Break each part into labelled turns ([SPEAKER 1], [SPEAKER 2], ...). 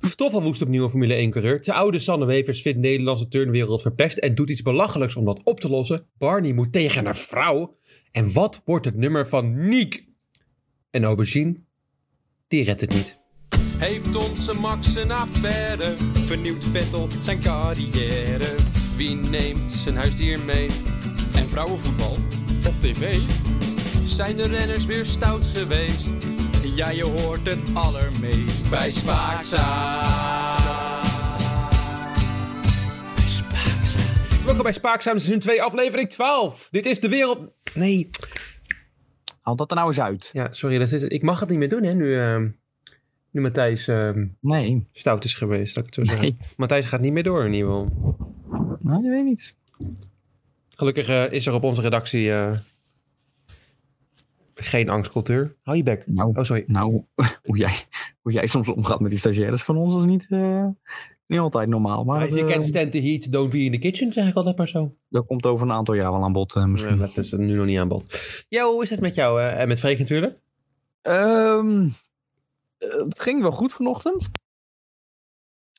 [SPEAKER 1] Stoffel woest opnieuw een Formule 1-coureur. Zijn oude Sanne Wevers vindt Nederlandse turnwereld verpest en doet iets belachelijks om dat op te lossen. Barney moet tegen een vrouw. En wat wordt het nummer van Niek? En Aubergine, die redt het niet.
[SPEAKER 2] Heeft onze Max een affaire? Vernieuwt Vettel zijn carrière? Wie neemt zijn huisdier mee? En vrouwenvoetbal op tv? Zijn de renners weer stout geweest? Ja, je hoort het allermeest bij Spaakzaam.
[SPEAKER 1] Welkom bij Spaakzaam seizoen 2, aflevering 12. Dit is de wereld... Nee,
[SPEAKER 3] Haal dat er nou eens uit.
[SPEAKER 1] ja, sorry. Dat is, ik mag het niet meer doen, hè, nu, ehm, nu Matthijs ehm,
[SPEAKER 3] Nee,
[SPEAKER 1] stout is geweest. Dat ik het zo zeggen.
[SPEAKER 3] Nee.
[SPEAKER 1] Matthijs gaat niet meer door in ieder geval.
[SPEAKER 3] nou, je weet niet.
[SPEAKER 1] Gelukkig eh, is er op onze redactie eh, geen angstcultuur. Hou je bek.
[SPEAKER 3] Nou,
[SPEAKER 1] Oh, sorry.
[SPEAKER 3] nou hoe, jij, hoe jij soms omgaat met die stagiaires van ons is niet, eh, niet altijd normaal. Maar
[SPEAKER 1] If
[SPEAKER 3] dat,
[SPEAKER 1] you
[SPEAKER 3] eh,
[SPEAKER 1] can't stand the heat, don't be in the kitchen, zeg ik altijd maar zo.
[SPEAKER 3] dat komt over een aantal jaar wel aan bod eh, misschien.
[SPEAKER 1] dat is nu nog niet aan bod. Ja, hoe is het met jou eh, en met Freek natuurlijk?
[SPEAKER 3] Ehm, eh, het ging wel goed vanochtend.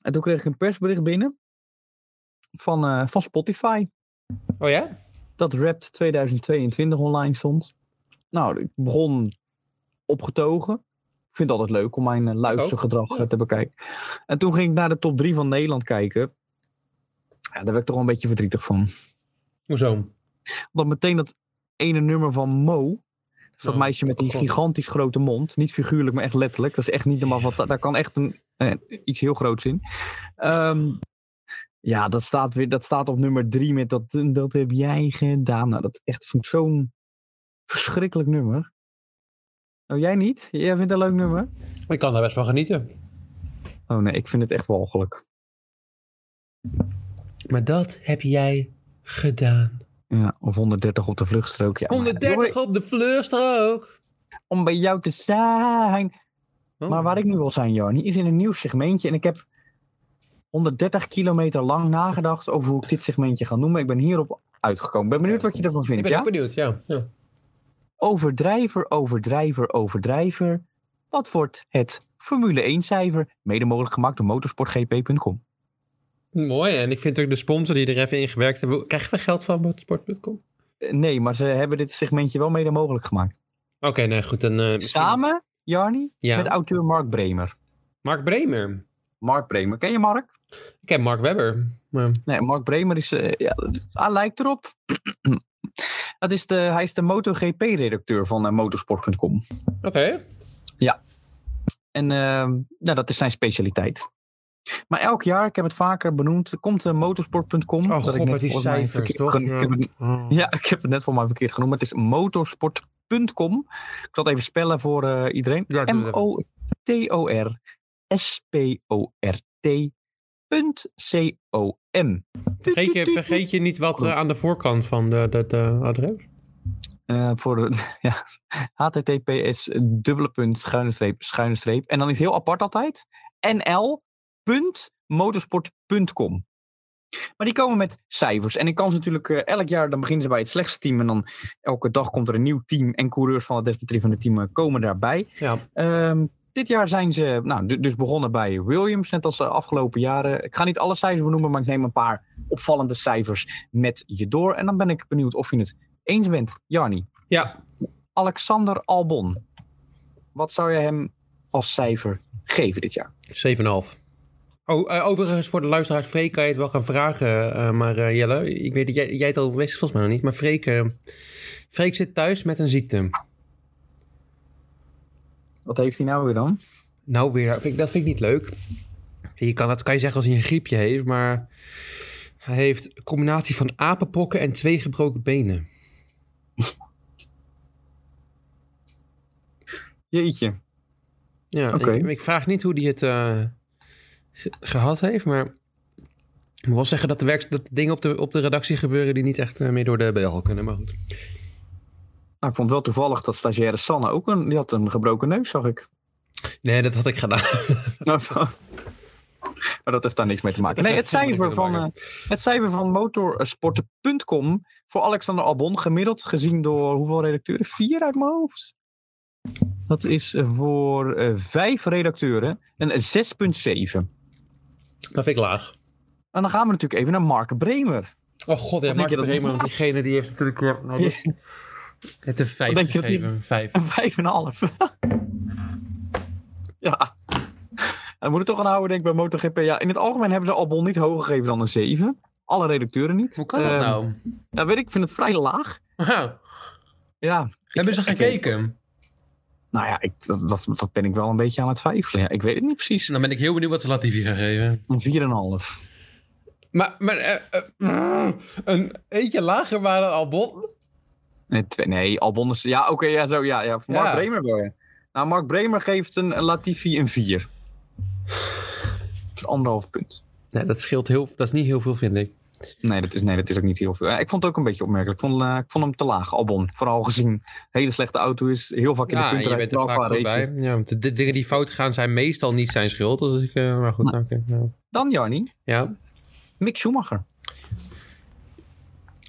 [SPEAKER 3] En toen kreeg ik een persbericht binnen van, eh, van Spotify.
[SPEAKER 1] Oh ja?
[SPEAKER 3] Dat Wrapped 2022 online stond. Nou, ik begon opgetogen. Ik vind het altijd leuk om mijn eh, luistergedrag eh, te bekijken. En toen ging ik naar de top 3 van Nederland kijken. Ja, daar werd ik toch wel een beetje verdrietig van.
[SPEAKER 1] Hoezo?
[SPEAKER 3] Want meteen dat ene nummer van Mo. Dat is dat
[SPEAKER 1] Oh,
[SPEAKER 3] meisje met die
[SPEAKER 1] god.
[SPEAKER 3] gigantisch grote mond. Niet figuurlijk, maar echt letterlijk. Dat is echt niet normaal. Wat, daar kan echt een, eh, iets heel groots in. Ehm, ja, dat staat, weer, dat staat op nummer drie met dat, dat heb jij gedaan. Nou, dat echt vind ik zo'n verschrikkelijk nummer. Oh, jij niet? Jij vindt het een leuk nummer?
[SPEAKER 1] Ik kan daar best van genieten.
[SPEAKER 3] Oh nee, ik vind het echt walgelijk.
[SPEAKER 1] Maar dat heb jij gedaan.
[SPEAKER 3] Ja, of 130 op de vluchtstrook. Ja, maar-
[SPEAKER 1] 130 op de vleurstrook.
[SPEAKER 3] om bij jou te zijn.
[SPEAKER 1] Oh.
[SPEAKER 3] Maar waar ik nu wil zijn, Jarni, is in een nieuw segmentje. En ik heb 130 kilometer lang nagedacht over hoe ik dit segmentje ga noemen. Ik ben hierop uitgekomen. Ben benieuwd wat je ervan
[SPEAKER 1] Ik
[SPEAKER 3] vindt,
[SPEAKER 1] ben ook
[SPEAKER 3] ja?
[SPEAKER 1] benieuwd, ja. ja.
[SPEAKER 3] Overdrijver, overdrijver, overdrijver. Wat wordt het Formule 1-cijfer? Mede mogelijk gemaakt door motorsportgp.com.
[SPEAKER 1] Mooi, en ik vind ook de sponsor die er even in gewerkt hebben. Krijgen we geld van motorsport.com?
[SPEAKER 3] Eh, Nee, maar ze hebben dit segmentje wel mede mogelijk gemaakt.
[SPEAKER 1] Oké, nee, goed. Dan, eh, misschien-
[SPEAKER 3] Samen, Jarni,
[SPEAKER 1] Ja.
[SPEAKER 3] met auteur Mark Bremer.
[SPEAKER 1] Mark Bremer.
[SPEAKER 3] Mark Bremer, ken je Mark?
[SPEAKER 1] Ik heb Mark Webber. Maar...
[SPEAKER 3] Nee, Mark Bremer is. eh, ja, hij lijkt erop. Dat is de, hij is de MotoGP-redacteur van eh, motorsport.com.
[SPEAKER 1] Oké.
[SPEAKER 3] En ehm, nou, dat is zijn specialiteit. Maar elk jaar, ik heb het vaker benoemd, komt eh, motorsport.com.
[SPEAKER 1] Oh,
[SPEAKER 3] dat
[SPEAKER 1] god,
[SPEAKER 3] ik net
[SPEAKER 1] met die
[SPEAKER 3] volgens mij
[SPEAKER 1] cijfers,
[SPEAKER 3] verkeerd
[SPEAKER 1] toch?
[SPEAKER 3] gen- ik heb het- ja, ik heb het net voor mij verkeerd genoemd, maar het is motorsport.com. Ik zal het even spellen voor eh, iedereen.
[SPEAKER 1] Ja, doe het
[SPEAKER 3] M-O-T-O-R-S-P-O-R-T.com.
[SPEAKER 1] Vergeet je, vergeet je niet wat eh, aan de voorkant van de, de, de adres?
[SPEAKER 3] Eh, voor de, ja, https dubbele punt schuine streep schuine streep en dan is heel apart altijd nl.motorsport.com maar die komen met cijfers en ik kan ze natuurlijk eh, elk jaar dan beginnen ze bij het slechtste team en dan elke dag komt er een nieuw team en coureurs van het desbetreffende team eh, komen daarbij
[SPEAKER 1] Ja.
[SPEAKER 3] Ehm, dit jaar zijn ze nou, du- dus begonnen bij Williams, net als de afgelopen jaren. Ik ga niet alle cijfers benoemen, maar ik neem een paar opvallende cijfers met je door. En dan ben ik benieuwd of je het eens bent. Jarni,
[SPEAKER 1] Ja.
[SPEAKER 3] Alexander Albon. Wat zou je hem als cijfer geven dit jaar?
[SPEAKER 1] 7,5. Oh, eh, overigens, voor de luisteraars, Freek kan je het wel gaan vragen. eh, maar eh, Jelle, ik weet dat jij, jij het al wist, volgens mij nog niet. Maar Freek, eh, Freek zit thuis met een ziekte.
[SPEAKER 3] Wat heeft hij nou weer dan?
[SPEAKER 1] Nou weer, vind ik- dat vind ik niet leuk. Je kan, dat kan je zeggen als hij een griepje heeft, maar hij heeft een combinatie van apenpokken en twee gebroken benen.
[SPEAKER 3] Jeetje.
[SPEAKER 1] Ja,
[SPEAKER 3] Oké.
[SPEAKER 1] ik, ik vraag niet hoe die het eh, ge- gehad heeft, maar ik wil wel zeggen dat, de werk, dat dingen op de, op de redactie gebeuren die niet echt eh, meer door de beugel kunnen. Maar goed.
[SPEAKER 3] Nou, ik vond wel toevallig dat stagiaire Sanne ook een, die had een gebroken neus, zag ik.
[SPEAKER 1] Nee, dat had ik gedaan.
[SPEAKER 3] Nou, zo. Maar dat heeft daar niks mee te maken. Nee, het
[SPEAKER 1] heeft helemaal
[SPEAKER 3] cijfer
[SPEAKER 1] niks mee te
[SPEAKER 3] van, eh, het cijfer van motorsporten.com voor Alexander Albon, gemiddeld gezien door hoeveel redacteuren? Vier uit mijn hoofd. Dat is eh, voor eh, vijf redacteuren een 6,7.
[SPEAKER 1] Dat vind ik laag.
[SPEAKER 3] En dan gaan we natuurlijk even naar Mark Bremer.
[SPEAKER 1] Oh god, ja,
[SPEAKER 3] denk
[SPEAKER 1] Mark
[SPEAKER 3] je dat-
[SPEAKER 1] Bremer, want diegene die heeft natuurlijk... eh, Nou, die- het een vijf
[SPEAKER 3] Wat denk je dat die-
[SPEAKER 1] gegeven. Vijf.
[SPEAKER 3] Een vijf en een half. ja. En we moeten toch aan houden, denk ik, bij MotoGP. Ja, in het algemeen hebben ze Albon niet hoger gegeven dan een 7. Alle redacteuren niet.
[SPEAKER 1] Hoe kan dat
[SPEAKER 3] Ehm,
[SPEAKER 1] nou?
[SPEAKER 3] Ja, weet ik, ik vind het vrij laag.
[SPEAKER 1] Wauw.
[SPEAKER 3] Ja.
[SPEAKER 1] Hebben ze
[SPEAKER 3] ik-
[SPEAKER 1] gekeken?
[SPEAKER 3] Nou ja, ik, dat, dat, dat ben ik wel een beetje aan het twijfelen. Ja, ik weet het niet precies.
[SPEAKER 1] Dan ben ik heel benieuwd wat ze Latifi gaan geven.
[SPEAKER 3] Een 4,5.
[SPEAKER 1] Maar, maar eh, eh, een eentje lager waren Albon?
[SPEAKER 3] Nee, twee- nee, Albon is... Ja, oké, ja, zo, ja, ja. Voor Mark
[SPEAKER 1] Ja.
[SPEAKER 3] Bremer wel, ja. Nou, Mark Bremer geeft een, een Latifi een 4. Dat is Anderhalf punt.
[SPEAKER 1] Nee, dat scheelt heel... Dat is niet heel veel, vind ik.
[SPEAKER 3] Nee dat, is, nee, dat is ook niet heel veel. Eh, Ik vond het ook een beetje opmerkelijk. Ik vond, eh, ik vond hem te laag, Albon. Vooral gezien hele slechte auto is. Heel vaak in de
[SPEAKER 1] Ja, en
[SPEAKER 3] punten
[SPEAKER 1] je
[SPEAKER 3] rijdt,
[SPEAKER 1] bent er
[SPEAKER 3] wel
[SPEAKER 1] vaak
[SPEAKER 3] qua races.
[SPEAKER 1] voorbij. Ja, want de, de dingen die fout gaan zijn meestal niet zijn schuld. Dus ik, eh, maar goed, oké. ja.
[SPEAKER 3] Dan, Jarni,
[SPEAKER 1] ja.
[SPEAKER 3] Mick Schumacher.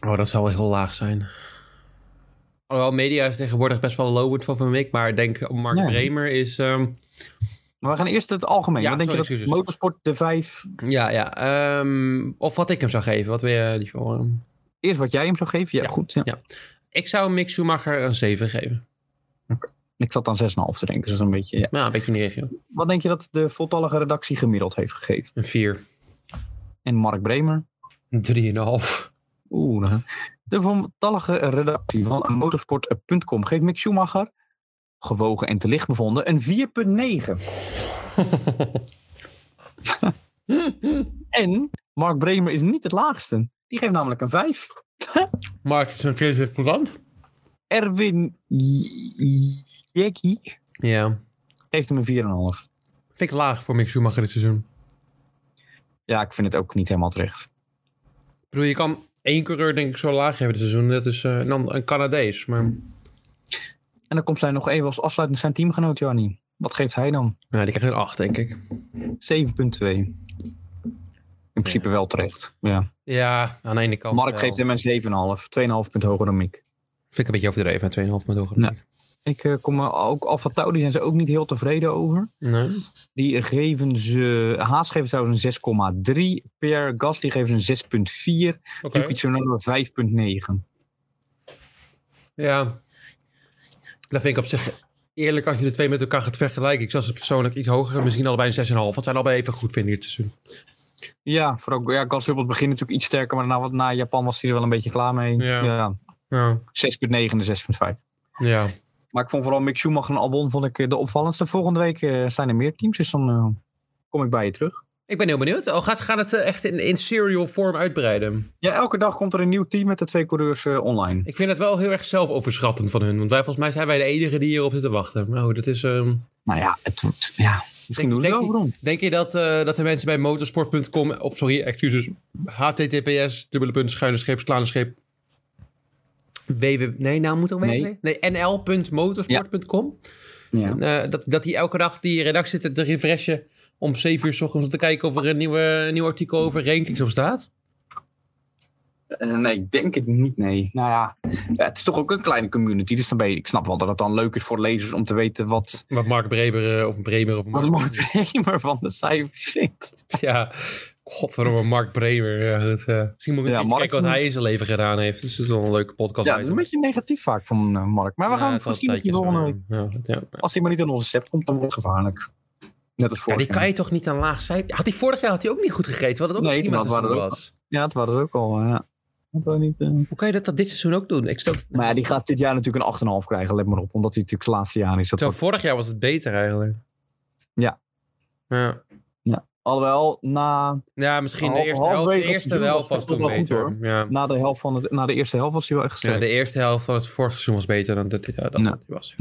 [SPEAKER 1] Oh, dat zou wel heel laag zijn. Alhoewel, media is tegenwoordig best wel lowend van Van Mick. Maar ik denk, Mark
[SPEAKER 3] Ja.
[SPEAKER 1] Bremer is... ehm,
[SPEAKER 3] Maar we gaan eerst het algemeen.
[SPEAKER 1] Ja,
[SPEAKER 3] Wat denk
[SPEAKER 1] sorry,
[SPEAKER 3] je dat
[SPEAKER 1] excuses.
[SPEAKER 3] motorsport de vijf...
[SPEAKER 1] Ja, ja. ehm, of wat ik hem zou geven. Wat wil je die voor? hem?
[SPEAKER 3] Eerst wat jij hem zou geven? Ja,
[SPEAKER 1] Ja.
[SPEAKER 3] goed. Ja.
[SPEAKER 1] Ik zou Mick Schumacher een 7 geven.
[SPEAKER 3] Ik zat aan 6,5 te denken. Dus een beetje, ja.
[SPEAKER 1] Nou, een beetje in de regio.
[SPEAKER 3] Wat denk je dat de voltallige redactie gemiddeld heeft gegeven?
[SPEAKER 1] Een 4.
[SPEAKER 3] En Mark Bremer?
[SPEAKER 1] Een 3,5.
[SPEAKER 3] Oeh, dan- de voltallige redactie van motorsport.com geeft Mick Schumacher... gewogen en te licht bevonden, een 4,9. En Mark Bremer is niet het laagste. Die geeft namelijk een 5.
[SPEAKER 1] Mark is een keer coulant.
[SPEAKER 3] Erwin J- J- Jackie
[SPEAKER 1] Ja.
[SPEAKER 3] geeft hem een 4,5.
[SPEAKER 1] Vind ik laag voor Mick Schumacher dit seizoen.
[SPEAKER 3] Ja, ik vind het ook niet helemaal terecht.
[SPEAKER 1] Ik bedoel, je kan één coureur denk ik zo laag hebben dit seizoen. Dat is eh, een, ander- een Canadees. Maar
[SPEAKER 3] En dan komt zij nog even als afsluitend zijn teamgenoot, Jannie. Wat geeft hij dan?
[SPEAKER 1] ja, die krijgt een 8, denk ik.
[SPEAKER 3] 7,2. In principe wel terecht. Ja.
[SPEAKER 1] Ja, aan de ene kant
[SPEAKER 3] Mark
[SPEAKER 1] wel.
[SPEAKER 3] geeft hem een 7,5. 2,5 punt hoger dan Mick.
[SPEAKER 1] Vind ik een beetje overdreven. 2,5 maar doorgaan.
[SPEAKER 3] Ja. Ik eh, kom er ook Alfa Tauri zijn ze ook niet heel tevreden over.
[SPEAKER 1] Nee.
[SPEAKER 3] Die geven ze. Haas geeft trouwens een 6,3. Per Gasly geeft ze een 6,4.
[SPEAKER 1] Oké.
[SPEAKER 3] Yuki Tsunoda 5,9.
[SPEAKER 1] Ja. Dat vind ik op zich eerlijk als je de twee met elkaar gaat vergelijken. Ik zou ze persoonlijk iets hoger, misschien allebei een 6,5. Want zijn allebei even goed vinden dit seizoen.
[SPEAKER 3] Ja, vooral ja, Gasly op het begin natuurlijk iets sterker. Maar na, wat- na Japan was hij er wel een beetje klaar mee.
[SPEAKER 1] Ja.
[SPEAKER 3] Ja.
[SPEAKER 1] Ja.
[SPEAKER 3] 6,9 en 6,5.
[SPEAKER 1] Ja.
[SPEAKER 3] Maar ik vond vooral Mick Schumacher en Albon vond ik eh, de opvallendste. Volgende week eh, zijn er meer teams. Dus dan eh, kom ik bij je terug.
[SPEAKER 1] Ik ben heel benieuwd. Oh, gaat, gaat het eh, echt in, in serial vorm uitbreiden?
[SPEAKER 3] Ja, elke dag komt er een nieuw team met de twee coureurs eh, online.
[SPEAKER 1] Ik vind het wel heel erg zelfoverschattend van hun. Want wij, volgens mij zijn wij de enigen die hierop zitten wachten. Maar goed, dat is... ehm,
[SPEAKER 3] Nou ja, het, wordt- ja misschien
[SPEAKER 1] Denk-
[SPEAKER 3] doen ze
[SPEAKER 1] denk
[SPEAKER 3] wel
[SPEAKER 1] niet-
[SPEAKER 3] waarom.
[SPEAKER 1] Denk je dat, eh, dat de mensen bij motorsport.com... Of sorry, excuses. HTTPS, dubbele punt, schuine scheep, slaande scheep... WW... Nee, nou moet er
[SPEAKER 3] Nee.
[SPEAKER 1] weten. Nee, nl.motorsport.com.
[SPEAKER 3] Ja.
[SPEAKER 1] En, eh, dat, dat die elke dag die redactie zit te refreshen om 7 uur s ochtends om te kijken of er een, nieuwe, een nieuw artikel over rankings op staat.
[SPEAKER 3] Eh, nee, ik denk het niet, nee. Nou ja, het is toch ook een kleine community. Dus dan ben je, ik snap wel dat het dan leuk is voor lezers om te weten wat,
[SPEAKER 1] Wat Mark Bremer eh, of Bremer of
[SPEAKER 3] wat
[SPEAKER 1] Mark,
[SPEAKER 3] Mark Bremer van de cijfers vindt.
[SPEAKER 1] ja, godverdomme Mark Bremer. Ja, dat, eh, misschien moet ik
[SPEAKER 3] Ja,
[SPEAKER 1] even
[SPEAKER 3] Mark-
[SPEAKER 1] kijken wat hij in zijn leven gedaan heeft. Dus dat is wel een leuke podcast.
[SPEAKER 3] Ja, dat is een beetje negatief vaak van eh, Mark. Maar we gaan het misschien dat hij volgende week-
[SPEAKER 1] eh, ja, ja.
[SPEAKER 3] Als hij maar niet in onze set komt, dan wordt het gevaarlijk. Net als
[SPEAKER 1] Ja,
[SPEAKER 3] vorig
[SPEAKER 1] die kan je toch niet aan laag zijn? Had hij vorig jaar had hij ook niet goed gegeten? Wat het ook
[SPEAKER 3] Nee,
[SPEAKER 1] prima
[SPEAKER 3] toen hadden we
[SPEAKER 1] seizoen
[SPEAKER 3] dat ook.
[SPEAKER 1] was.
[SPEAKER 3] Ja, het waren er ook al. eh, Ja. Dat we niet, eh.
[SPEAKER 1] Hoe kan je dat, dat dit seizoen ook doen? Ik stel,
[SPEAKER 3] Maar ja, die gaat dit jaar natuurlijk een 8,5 krijgen, let maar op. Omdat hij natuurlijk het laatste jaar is. Dat
[SPEAKER 1] Terwijl
[SPEAKER 3] wordt-
[SPEAKER 1] vorig jaar was het beter eigenlijk.
[SPEAKER 3] Ja.
[SPEAKER 1] Ja.
[SPEAKER 3] Alhoewel, na,
[SPEAKER 1] Ja, misschien de
[SPEAKER 3] Hal-
[SPEAKER 1] eerste
[SPEAKER 3] halverwege
[SPEAKER 1] helft. De
[SPEAKER 3] het
[SPEAKER 1] eerste
[SPEAKER 3] seizoen
[SPEAKER 1] wel
[SPEAKER 3] was het
[SPEAKER 1] was
[SPEAKER 3] toch
[SPEAKER 1] toen
[SPEAKER 3] wel goed,
[SPEAKER 1] beter. Ja.
[SPEAKER 3] na, de helft van het, na de eerste helft was hij wel echt sterk.
[SPEAKER 1] Ja, de eerste helft van het vorige seizoen was beter dan dat dit ja, dat
[SPEAKER 3] Ja.
[SPEAKER 1] het was.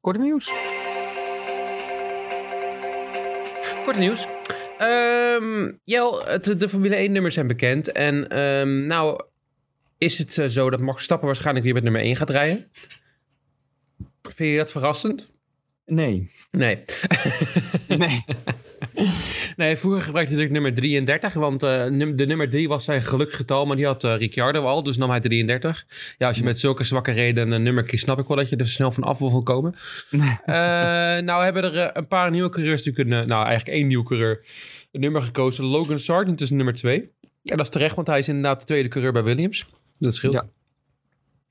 [SPEAKER 3] Korte nieuws.
[SPEAKER 1] Kort nieuws. Ehm Jel, het- de Formule 1 nummers zijn bekend. En ehm, nou is het eh, zo dat Max Stappen waarschijnlijk weer met nummer 1 gaat rijden. Vind je dat verrassend?
[SPEAKER 3] Nee.
[SPEAKER 1] Nee.
[SPEAKER 3] nee.
[SPEAKER 1] Nee, vroeger gebruikte hij natuurlijk nummer 33, want eh, num- de nummer 3 was zijn geluksgetal, maar die had eh, Ricciardo al, dus nam hij 33. Ja, als je met zulke zwakke reden een nummer kiest, snap ik wel dat je er snel van af wil van komen. Eh, nou hebben er eh, een paar nieuwe coureurs natuurlijk, een, eh, nou eigenlijk één nieuwe coureur, een nummer gekozen. Logan Sargent is nummer 2. En dat is terecht, want hij is inderdaad de tweede coureur bij Williams. Dat scheelt.
[SPEAKER 3] Ja.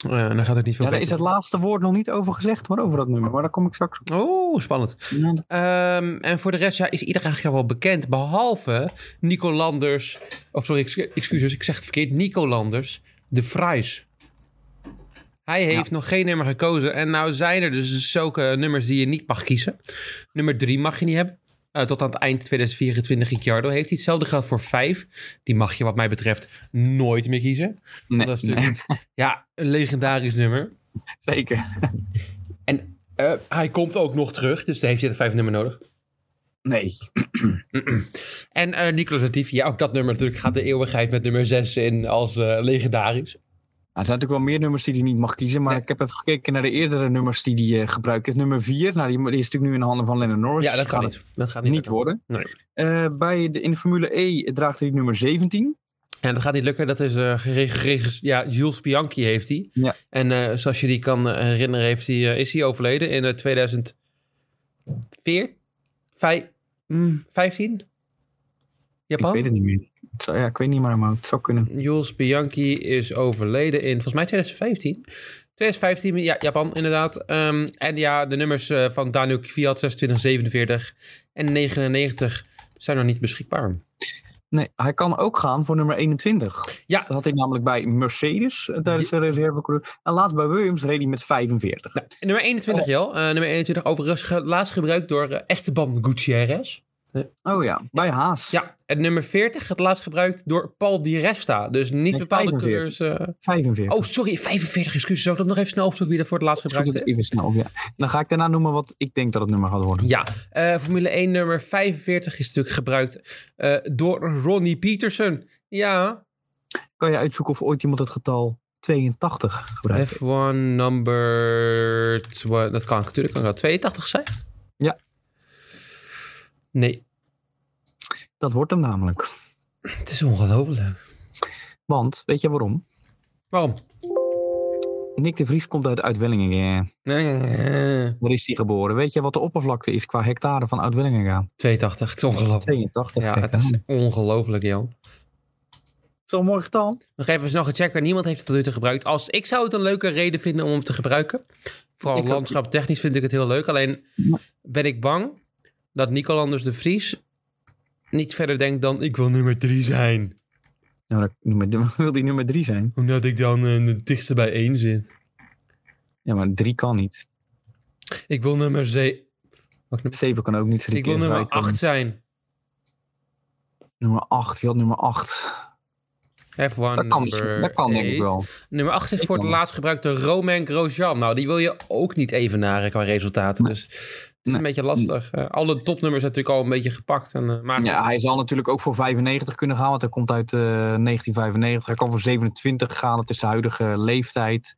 [SPEAKER 1] Eh, en dan gaat het niet veel
[SPEAKER 3] Ja, daar is
[SPEAKER 1] beter.
[SPEAKER 3] het laatste woord nog niet over gezegd hoor, over dat nummer. Maar daar kom ik straks op.
[SPEAKER 1] Oh, spannend.
[SPEAKER 3] Ja, dat-
[SPEAKER 1] Ehm, en voor de rest ja, is iedereen eigenlijk wel bekend. Behalve Nico Landers. Of sorry, ex- excuses, ik zeg het verkeerd. Nico Landers, de Vries. Hij heeft nog geen nummer gekozen. En nou zijn er dus zulke nummers die je niet mag kiezen. Nummer 3 mag je niet hebben. Eh, tot aan het eind 2024 Ricciardo heeft hij. Hetzelfde geldt voor 5. Die mag je wat mij betreft nooit meer kiezen.
[SPEAKER 3] nee,
[SPEAKER 1] dat is
[SPEAKER 3] nee,
[SPEAKER 1] natuurlijk ja, een legendarisch nummer.
[SPEAKER 3] zeker.
[SPEAKER 1] Eh, hij komt ook nog terug, dus daar heeft hij het vijf nummer nodig.
[SPEAKER 3] Nee. Nou,
[SPEAKER 1] En eh, Nicolas Latifi, ja, ook dat nummer natuurlijk gaat de eeuwigheid met nummer 6 in als eh, legendarisch.
[SPEAKER 3] Nou, er zijn natuurlijk wel meer nummers die hij niet mag kiezen. Maar
[SPEAKER 1] Nee.
[SPEAKER 3] ik heb even gekeken naar de eerdere nummers die hij eh, gebruikt. Dus nummer 4, nou, die, die is natuurlijk nu in de handen van Lennon Norris.
[SPEAKER 1] ja, dat
[SPEAKER 3] Dus
[SPEAKER 1] gaat
[SPEAKER 3] gaat
[SPEAKER 1] niet. Dat gaat niet,
[SPEAKER 3] het niet
[SPEAKER 1] lukken.
[SPEAKER 3] worden.
[SPEAKER 1] Nee.
[SPEAKER 3] Eh, bij de, in de Formule E draagt hij nummer 17.
[SPEAKER 1] En dat gaat niet lukken. Dat is eh gere- gere- ja, Jules Bianchi heeft hij.
[SPEAKER 3] Ja.
[SPEAKER 1] En eh, zoals je die kan eh, herinneren, heeft hij, eh, is hij overleden in eh, 2004? Vij- mm, 15? Japan?
[SPEAKER 3] Ik weet het niet meer. Het zou- ja, ik weet niet meer, maar het zou kunnen.
[SPEAKER 1] Jules Bianchi is overleden in, volgens mij 2015. 2015, ja, Japan inderdaad. Ehm, en ja, de nummers eh, van Daniel Kvyat 26, 47 en 99 zijn nog niet beschikbaar.
[SPEAKER 3] Nee, hij kan ook gaan voor nummer 21.
[SPEAKER 1] Ja.
[SPEAKER 3] Dat had hij namelijk bij Mercedes. eh, Daar is de reservecoureur. En laatst bij Williams reed hij met 45.
[SPEAKER 1] En nummer 21, Jel. Eh, nummer 21, overigens ge- laatst gebruikt door eh, Esteban Gutierrez.
[SPEAKER 3] Oh ja, bij Haas.
[SPEAKER 1] Ja, en nummer 40, het laatst gebruikt door Paul Di Resta. Dus niet
[SPEAKER 3] Nee,
[SPEAKER 1] bepaalde
[SPEAKER 3] 45.
[SPEAKER 1] coureurs. eh,
[SPEAKER 3] 45.
[SPEAKER 1] Oh, sorry, 45, excuses. Zou ik dat nog even snel opzoeken wie dat voor het laatst
[SPEAKER 3] Ik zoek
[SPEAKER 1] gebruikt
[SPEAKER 3] het
[SPEAKER 1] heeft?
[SPEAKER 3] even snel op, ja. Dan ga ik daarna noemen wat ik denk dat het nummer gaat worden.
[SPEAKER 1] Ja, eh, Formule 1 nummer 45 is natuurlijk gebruikt eh, door Ronnie Peterson. Ja,
[SPEAKER 3] Kan je uitzoeken of ooit iemand het getal 82 gebruikt heeft?
[SPEAKER 1] F1 number... twa- Dat kan ik natuurlijk, kan dat 82 zijn?
[SPEAKER 3] Ja.
[SPEAKER 1] Nee,
[SPEAKER 3] Dat wordt hem namelijk.
[SPEAKER 1] het is ongelooflijk.
[SPEAKER 3] Want, weet je waarom?
[SPEAKER 1] Waarom?
[SPEAKER 3] Nick de Vries komt uit Oud-Wellingen.
[SPEAKER 1] Eh,
[SPEAKER 3] Daar is hij geboren. Weet je wat de oppervlakte is qua hectare van Oud-Wellingen?
[SPEAKER 1] 82, het is ongelooflijk.
[SPEAKER 3] 82
[SPEAKER 1] Ja,
[SPEAKER 3] hectare.
[SPEAKER 1] het is ongelooflijk, Jan.
[SPEAKER 3] Zo'n mooi getal.
[SPEAKER 1] Nog even snel gaan checken. Niemand heeft het tot nu toe gebruikt. Als, ik zou het een leuke reden vinden om hem te gebruiken. Vooral
[SPEAKER 3] Ik ook.
[SPEAKER 1] landschaptechnisch vind ik het heel leuk. Alleen
[SPEAKER 3] Ja.
[SPEAKER 1] ben ik bang dat Nicolanders de Vries niet verder denkt dan ik wil nummer 3 zijn.
[SPEAKER 3] Nou, dat nummer- dat wil die nummer 3 zijn.
[SPEAKER 1] Omdat ik dan eh, het dichtste bij 1 zit.
[SPEAKER 3] Ja, maar 3 kan niet.
[SPEAKER 1] Ik wil nummer 7.
[SPEAKER 3] 7 kan ook niet. drie
[SPEAKER 1] Ik wil
[SPEAKER 3] keer
[SPEAKER 1] nummer
[SPEAKER 3] vijf kan
[SPEAKER 1] 8
[SPEAKER 3] niet.
[SPEAKER 1] zijn.
[SPEAKER 3] Nummer 8. Je had nummer 8.
[SPEAKER 1] F1
[SPEAKER 3] Dat kan, misschien-
[SPEAKER 1] number
[SPEAKER 3] dat kan denk ik
[SPEAKER 1] eight.
[SPEAKER 3] wel.
[SPEAKER 1] Nummer 8 is
[SPEAKER 3] Ik
[SPEAKER 1] voor het
[SPEAKER 3] kan.
[SPEAKER 1] laatst gebruikte Romain Grosjean. Nou, die wil je ook niet evenaren qua resultaten.
[SPEAKER 3] Nee.
[SPEAKER 1] Dus het is
[SPEAKER 3] Nee.
[SPEAKER 1] een beetje lastig. Eh, alle topnummers zijn natuurlijk al een beetje gepakt. En, eh, maar
[SPEAKER 3] Ja, hij zal natuurlijk ook voor 95 kunnen gaan, want hij komt uit eh, 1995. Hij kan voor 27 gaan, dat is de huidige leeftijd.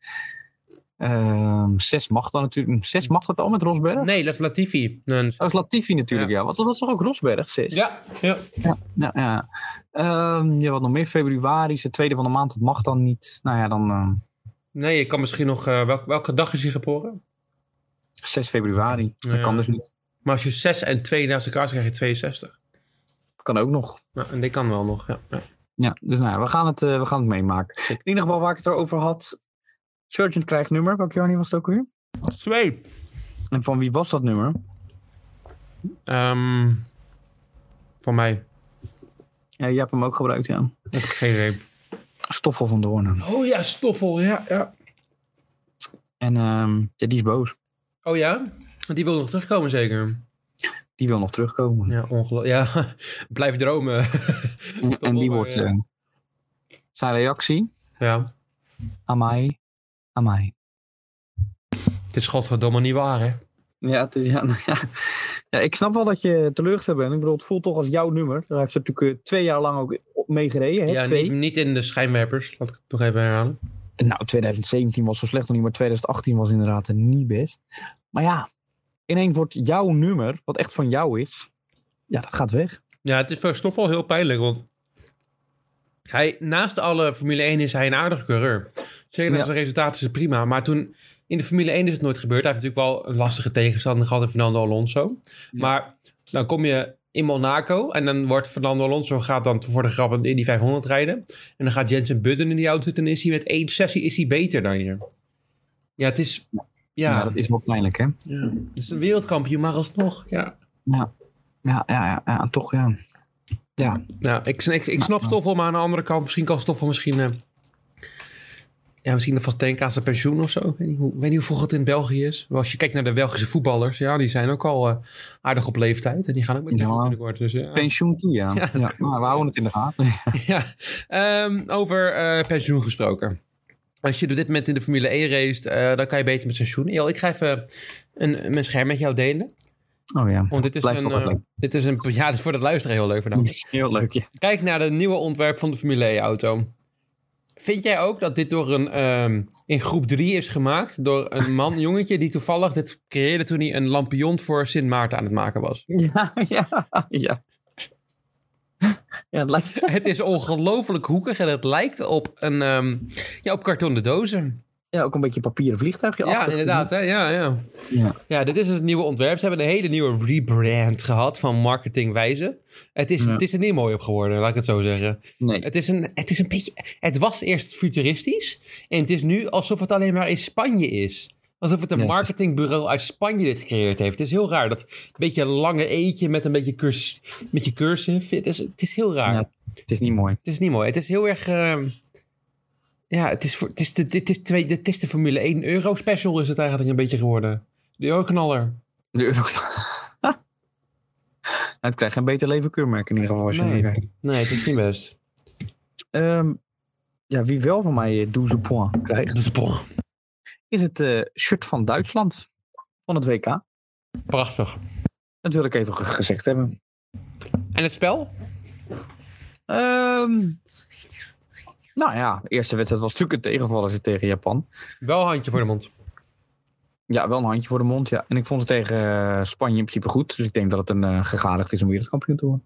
[SPEAKER 3] Ehm 6 mag dan natuurlijk. 6 mag dat al met Rosberg?
[SPEAKER 1] Nee, dat is Latifi. Nee,
[SPEAKER 3] Dat is Latifi natuurlijk, ja. Want dat was toch ook Rosberg, 6?
[SPEAKER 1] Ja, ja.
[SPEAKER 3] Ja, ja. Ehm, ja, wat nog meer? Februari is de tweede van de maand, dat mag dan niet. Nou ja, dan ehm,
[SPEAKER 1] Nee, je kan misschien nog... eh, welk- welke dag is hij geboren?
[SPEAKER 3] 6 februari.
[SPEAKER 1] Ja.
[SPEAKER 3] Dat kan dus niet.
[SPEAKER 1] Maar als je 6 en 2 naast elkaar zet, krijg je 62.
[SPEAKER 3] Kan ook nog.
[SPEAKER 1] Nou, en die kan wel nog, ja. ja.
[SPEAKER 3] Ja, dus nou ja, we gaan het, eh, we gaan het meemaken.
[SPEAKER 1] Zeker.
[SPEAKER 3] In ieder geval waar ik het erover had. Surgeon krijgt nummer. Welk jaar was het ook weer?
[SPEAKER 1] Twee.
[SPEAKER 3] En van wie was dat nummer?
[SPEAKER 1] Ehm voor mij.
[SPEAKER 3] Ja, je hebt hem ook gebruikt, ja.
[SPEAKER 1] Ik heb geen idee.
[SPEAKER 3] Stoffel van Doornen.
[SPEAKER 1] Oh ja, Stoffel, ja, ja.
[SPEAKER 3] En ehm, ja, die is boos.
[SPEAKER 1] Oh ja? Die wil nog terugkomen zeker?
[SPEAKER 3] Die wil nog terugkomen.
[SPEAKER 1] Ja, ongelooflijk. Ja, blijf dromen.
[SPEAKER 3] En- en die wordt
[SPEAKER 1] ja.
[SPEAKER 3] eh, zijn reactie
[SPEAKER 1] ja,
[SPEAKER 3] aan mij. Aan mij.
[SPEAKER 1] het is godverdomme niet waar, hè?
[SPEAKER 3] Ja, het is, ja, nou ja. ja, ik snap wel dat je teleurgesteld bent. Ik bedoel, het voelt toch als jouw nummer. Daar heeft ze natuurlijk eh, twee jaar lang ook op meegereden. hè,
[SPEAKER 1] Ja,
[SPEAKER 3] twee.
[SPEAKER 1] niet, niet in de schijnwerpers. Laat ik het nog even herhalen.
[SPEAKER 3] Nou, 2017 was zo slecht nog niet, maar 2018 was inderdaad eh, niet best. Maar ja, ineens wordt jouw nummer, wat echt van jou is, ja, dat gaat weg.
[SPEAKER 1] Ja, het is voor Stoffel wel heel pijnlijk, want hij, naast alle Formule 1 is hij een aardige coureur. Zeker dat
[SPEAKER 3] Ja.
[SPEAKER 1] zijn resultaten zijn prima, maar toen in de Formule 1 is het nooit gebeurd. Hij heeft natuurlijk wel een lastige tegenstander gehad in Fernando Alonso. Maar dan kom je in Monaco en dan wordt Fernando Alonso gaat dan voor de grap in die 500 rijden. En dan gaat Jensen Button in die auto zitten en is hij met één sessie is hij beter dan je. Ja, het is...
[SPEAKER 3] Ja,
[SPEAKER 1] Ja,
[SPEAKER 3] dat is wel pijnlijk, hè?
[SPEAKER 1] ja. het is een wereldkampioen, maar alsnog, ja.
[SPEAKER 3] Ja, ja, ja, ja toch, ja. Ja,
[SPEAKER 1] Nou, ik, ik, ik snap Stoffel, maar aan de andere kant, misschien kan Stoffel misschien... eh, ja, misschien vast denken aan zijn pensioen of zo. Ik weet niet, hoe, ik weet niet hoe vroeg het in België is. Maar als je kijkt naar de Belgische voetballers, ja, die zijn ook al eh, aardig op leeftijd. En die gaan ook met
[SPEAKER 3] Ja.
[SPEAKER 1] pensioen binnenkort. Dus, ja.
[SPEAKER 3] pensioen toe, ja. ja, maar we houden het in de gaten.
[SPEAKER 1] ja. Ehm, over eh, pensioen gesproken. Als je op dit moment in de Formule 1 race, eh, dan kan je beter met pensioen. Jo, ik ga even een, mijn scherm met jou delen.
[SPEAKER 3] Oh ja.
[SPEAKER 1] Want dit is,
[SPEAKER 3] Blijft
[SPEAKER 1] een,
[SPEAKER 3] altijd
[SPEAKER 1] eh,
[SPEAKER 3] leuk.
[SPEAKER 1] dit is een... Ja, dit is voor het luisteren heel leuk. Vanavond.
[SPEAKER 3] Heel leuk, ja.
[SPEAKER 1] Kijk naar het nieuwe ontwerp van de Formule 1-auto. Vind jij ook dat dit door een, ehm, in groep 3 is gemaakt? Door een man, een jongetje, die toevallig dit creëerde toen hij een lampion voor Sint Maarten aan het maken was.
[SPEAKER 3] Ja, ja, ja. Ja, het lijkt...
[SPEAKER 1] Het is ongelooflijk hoekig en het lijkt op, een, ehm, ja, op kartonnen dozen.
[SPEAKER 3] ja, ook een beetje papieren vliegtuigje
[SPEAKER 1] Ja,
[SPEAKER 3] achter.
[SPEAKER 1] inderdaad. Hè? Ja, ja.
[SPEAKER 3] Ja.
[SPEAKER 1] ja, dit is dus het nieuwe ontwerp. Ze hebben een hele nieuwe rebrand gehad van marketingwijze. Het is,
[SPEAKER 3] Ja.
[SPEAKER 1] het is er niet mooi op geworden, laat ik het zo zeggen.
[SPEAKER 3] Nee.
[SPEAKER 1] Het is, een, het is een beetje. Het was eerst futuristisch. En het is nu alsof het alleen maar in Spanje is. Alsof het een
[SPEAKER 3] Ja, het is-
[SPEAKER 1] marketingbureau uit Spanje dit gecreëerd heeft. Het is heel raar. Dat beetje lange eetje met een beetje, curs, beetje cursive. Het is, het is heel raar.
[SPEAKER 3] Ja. Het is niet mooi.
[SPEAKER 1] Het is niet mooi. Het is heel erg. ehm, ja, het is, voor- het, is de, dit is twee, dit is de Formule 1 euro special is het eigenlijk een beetje geworden. De euroknaller.
[SPEAKER 3] De euro... Nou, het krijgt geen beter leven keurmerk in ieder geval. Als je
[SPEAKER 1] Nee.
[SPEAKER 3] naar kijkt.
[SPEAKER 1] Nee, het is niet best.
[SPEAKER 3] Ehm, ja, wie wel van mij eh, 12 points krijgt,
[SPEAKER 1] Dat is bon.
[SPEAKER 3] is het eh, shirt van Duitsland. Van het WK.
[SPEAKER 1] Prachtig.
[SPEAKER 3] Dat wil ik even ge- gezegd hebben.
[SPEAKER 1] En het spel?
[SPEAKER 3] Ehm, nou ja, de eerste wedstrijd was natuurlijk een tegenvaller tegen Japan.
[SPEAKER 1] Wel handje voor de mond.
[SPEAKER 3] Ja, wel een handje voor de mond, ja. En ik vond het tegen eh, Spanje in principe goed. Dus ik denk dat het een eh, gegadigd is om wereldkampioen te worden.